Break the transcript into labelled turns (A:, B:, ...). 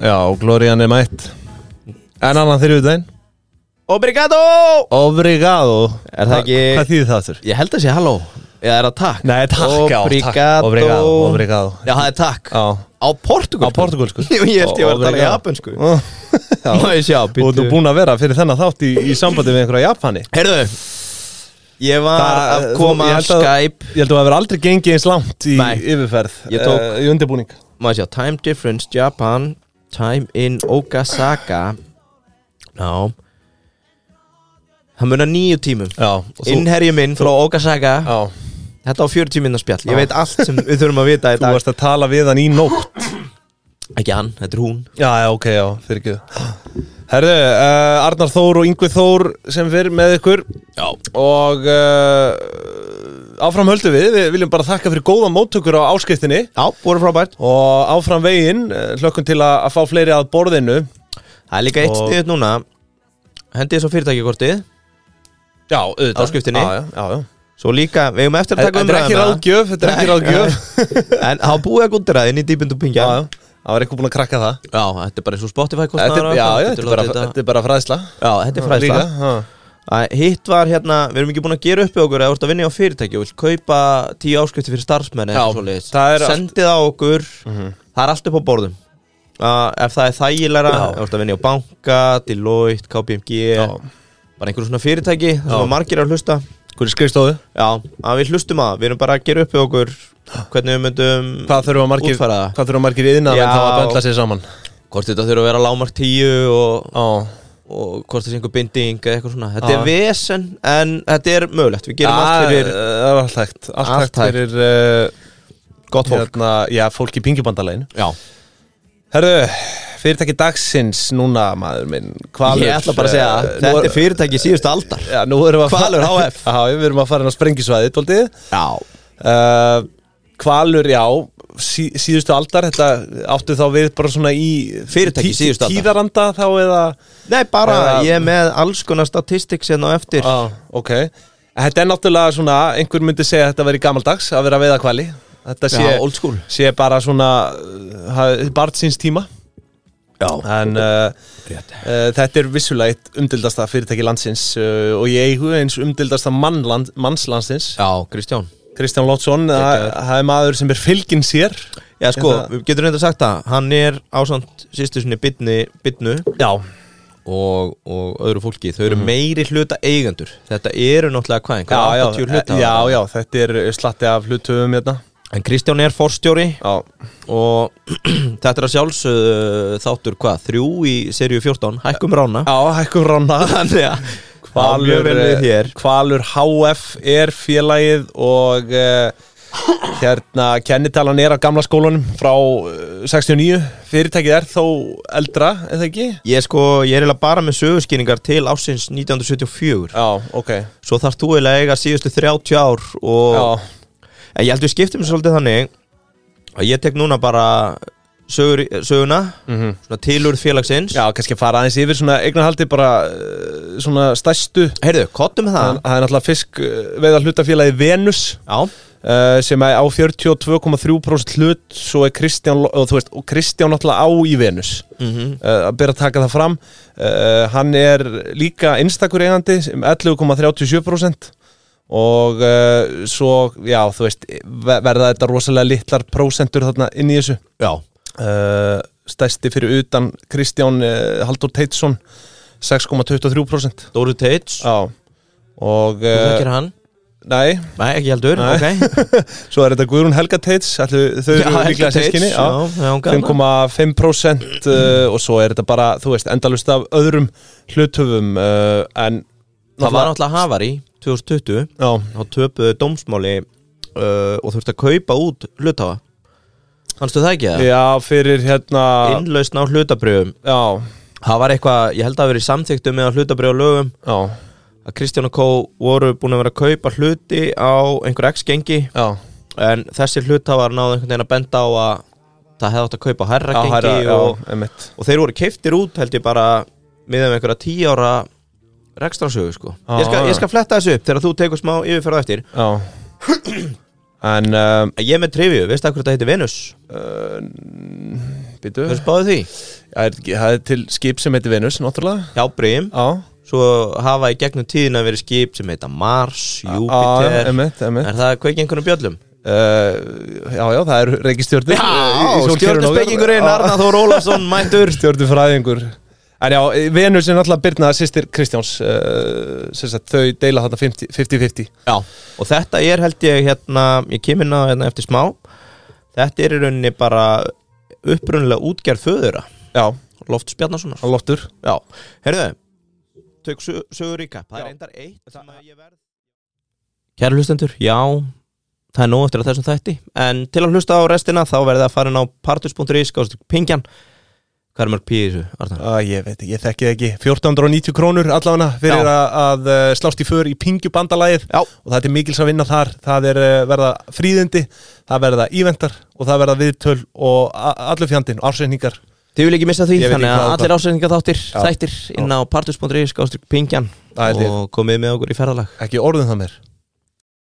A: Já, Glorian er mætt En annan þriðudaginn
B: Obrigado
A: Obrigado
B: Er það ekki-
A: Hvað þýðir það þurr?
B: Ég held að sé halló Eða er það takk?
A: Nei, takk, já, takk.
B: Obrigado
A: Obrigado, obrigado.
B: Já, það er takk
A: Já
B: Á portugalsku
A: Á portugölsku.
B: Jú, ég held ég var að tala
A: Obrigado.
B: japansku Má ég sjá,
A: Og þú
B: býttu
A: er búin að vera fyrir þennan þátt í, í sambandi við einhverja Japani
B: Heyrðu Ég var
A: Það-
B: að koma
A: þú- ég
B: af
A: held að-
B: Skype
A: Ég held að það hefur aldrei gengið eins langt í
B: Nei.
A: yfirferð
B: Ég tók-
A: eh, Í undirbúning
B: Má ég sjá, time difference, Japan Time in Okasaka Ná Það munar nýju tímum
A: Já og þú-
B: Innherji minn frá Okasaka
A: Já
B: Þetta á 40 minna spjall, ég
A: Já.
B: veit allt sem við þurfum að vita í
A: Þú
B: dag
A: varst að tala við hann í nótt
B: Ekki hann, þetta er hún
A: Já, já, ok, já, fyrir ekki Herðu, uh, Arnar Þór og Yngvi Þór sem fyrir með ykkur
B: Já
A: og uh, áfram höldum við, við viljum bara þakka fyrir góða móttökur á áskiptinni
B: Já, voru frábært
A: og áfram veginn, eh, hlökkum til að, að fá fleiri að borðinu
B: Það er líka eitt
A: Og-
B: stiðut núna Hendi þessu fyrirtækjakortið
A: Já, auðvitað
B: Áskriftinni.
A: Já, já, já, já.
B: Svo líka, við eigum eftir að taka
A: Þetta er ekki
B: umræðina.
A: ráðgjöf, þetta er ekki
B: Nei.
A: ráðgjöf
B: En það var búið að gundra það inn í dýbindu
A: Já,
B: pingja
A: já, það var eitthvað búin að krakka það
B: Já, þetta er bara eins og Spotify
A: Þetta er,
B: kostnaður
A: já, já, þetta er bara, þetta er bara fræðsla
B: Já, þetta er fræðsla
A: Líka, já.
B: Æ, Hitt var hérna, við erum ekki búin að gera upp við okkur eða þú ert að vinna á fyrirtæki og vilt kaupa tíu áskrifti fyrir starfsmenn
A: Já,
B: eða eitthvað svoleiðis.
A: það er allt- Mhm.
B: Sendið á okkur Það er allt upp á borðum uh, Ef það er þægilega,
A: Já.
B: ef þú ert að vinna á banka Deloitte, KPMG
A: Já.
B: bara einhverjum svona fyrirtæki, það
A: Já.
B: sem að margir eru að hlusta
A: Hverju skrifstofu?
B: Já, að við hlustum að, við erum bara að gera upp við okkur hvernig við myndum
A: Hvað þurfa margir,
B: Útfæra það.
A: hvað þurfa margir yðna
B: Já.
A: en þá að böndla sér saman?
B: hvort þetta þurfa að vera lámark tíu og,
A: Já,
B: og hvort það sé einhver binding eða eitthvað svona, þetta
A: Já.
B: er vesen en þetta er mögulegt, við gerum allt fyrir
A: Já, Ah, eh, Það er allt hægt Allt,
B: Allt
A: hægt
B: hægt.
A: fyrir uh,
B: gott fólk
A: hérna, Já, fólk í pingibandalegin
B: Já,
A: Herðu, fyrirtæki dagsins núna, maður minn Hvalur
B: ég ætla bara að segja,
A: eh, nú
B: þetta er fyrirtæki síðust aldar
A: Já, nú erum við að
B: Hvalur HF.
A: Já, við erum að fara inn á sprengisvæði, tóltið
B: Já,
A: uh, Hvalur, já sí, Síðustu aldar, þetta áttu þá við bara svona í
B: Fyrirtæki síðustu aldar.
A: Tíðaranda þá eða
B: nei bara,
A: Eða-
B: ég er með alls konar statistik sérna á eftir
A: Já, Ah, ok En Þetta er náttúrulega svona, einhver myndi segja að þetta veri gamaldags að vera að veiða hvali Þetta sé,
B: Já, old school.
A: sé bara svona uh, barn síns tíma
B: Já,
A: En uh,
B: rétt
A: uh, þetta er vissulega eitt umdildasta fyrirtæki landsins uh, og ég eigu eins umdildasta mannland, mannslandsins
B: Já, Kristján
A: Kristján Lótsson, það
B: Gekkjaður.
A: það er maður sem er fylginn sér
B: Já sko,
A: Þetta-
B: við getum reynda sagt það, hann er ásand sýstu sinni bytni, bytnu
A: Já,
B: og, og öðru fólki þau eru meiri hluta eigendur þetta eru náttúrulega hvað,
A: já, já,
B: einhverja 80 hluta
A: já, já, þetta er slatti af hlutum hérna
B: en Kristján er forstjóri
A: Já,
B: og þetta er að sjálfsögðu þáttur hvað, þrjú í seríu 14 hækkum rána
A: já hækkum rána
B: þannig að það er mjög
A: Hvalur, eh,
B: vel við hér
A: Hvalur HF er félagið og uh, hérna kennitalan er af gamla skólanum frá eh, 69 fyrirtækið er þó eldra, eða ekki?
B: ég sko, ég er eiginlega bara með sögurskýringar til ásins 1974
A: Já, ok
B: svo þarf þú eiginlega að eiga síðustu 30 ár og
A: Já,
B: en ég held við skiptum þessu svolítið þannig að ég tek núna bara sögur, söguna svona tilur félagsins
A: Mhm. já kannski fara aðeins yfir svona eignarhaldi bara eh, svona stæstu
B: heyrðu, kottum við það
A: Það það er náttúrulega fisk veða hlutafélagið Venus
B: já
A: uh, sem er á 42,3% hlut svo er Kristján lo- og þú veist, og Kristján náttúrulega á í Venus mm
B: Mhm.
A: að byrja að taka það fram uh, hann er líka einstakur eigandi sem 11,37% og uh, svo, já, þú veist ve- verða þetta rosalega litlar prósentur þarna inn í þessu
B: Já,
A: uh, stæsti fyrir utan Kristján uh, Haldur Teitsson 6,23%
B: Dóru Teits Þú
A: Já og uh,
B: þekkir hann?
A: nei,
B: Nei, ekki heldur,
A: Nei.
B: ok
A: Svo er þetta Guðrún Helga Teits ætli, Þau eru líklega sískinni
B: já, já, hún gaf það.
A: 5,5% uh, og svo er þetta bara, þú veist, endalust af öðrum hluthöfum uh, en
B: Það var náttúrulega Havari 2020
A: já,
B: Þá töpuðu dómsmáli uh, og þurfti að kaupa út hlutafa Fannstu það ekki það?
A: já, fyrir hérna
B: Innlausn á hlutabrjöfum
A: Já,
B: Það var eitthvað, ég held að það hafi verið um samþyktu með hlutabrjöf lögum
A: já,
B: að Kristján og Kó voru búin að vera að kaupa hluti á einhver x-gengi
A: já
B: en þessi hlutafar náðu einhvern veginn að benda á að það hefði átt að kaupa hærra
A: Já, herra,
B: gengi
A: já,
B: og
A: einmitt
B: og þeir voru keiftir út held ég bara miðan með einhverja tíu ára rekstrarsögu sko
A: Já,
B: ég, skal,
A: já.
B: ég skal fletta þessu upp þegar þú tekur smá yfirferð á eftir
A: Já en um,
B: Ég er með trivju, veistu hvað þetta heitir Venus?
A: býtu,
B: Þú veist báðu því?
A: það er- það er til skip sem heitir Venus, náttúrulega
B: Já, Brím
A: Já,
B: Svo hafa í gegnum tíðina verið skip sem heita Mars,
A: já,
B: Júpiter
A: emitt, emitt
B: Er það að kveiki einhvernum bjöllum?
A: Uh, já, já, það er reikistjörnur eh,
B: stjórnaspekingurinn Arna Þór Ólafsson mættur
A: Stjörnufræðingur En já, Venus er náttúrulega Birna sýstir Kristjáns uh, sem sagt, Þau deila þetta 50 50-50
B: Já, og þetta er held ég hérna, ég kem inn á hérna eftir smá Þetta er í rauninni bara upprunalega útgerð föðura
A: Já,
B: Loft Spjarnasonar
A: hann loftur
B: Já, heyrðu Tök sö- sögur í kapp, það er
A: Já.
B: reyndar eitt sem að ég verð Kæra hlustendur, já Það er nóg eftir að þessum þætti En til að hlusta á restina þá verðið að fara inn á partus.is Gáðast pingjan Hvað er mörg píði þessu, Arnar?
A: Æ, ég veit ekki, ég þekki það ekki 1490 krónur allavega fyrir
B: Já.
A: að, að uh, slást í för í pingjubandalagið
B: Já.
A: og það er til mikils að vinna þar það er uh, verða fríðindi, það verða íventar og það verða viðtöl og a- allur fjandinn, ársreiningar
B: Þið vil ekki missa því,
A: Ég veit
B: þannig
A: ekki
B: að
A: hvað
B: allir ásendingar þáttir,
A: Já.
B: þættir inn á partus.is, gáðstrík pingjan
A: Það er
B: og komið með okkur í ferðalag.
A: ekki orðum það mér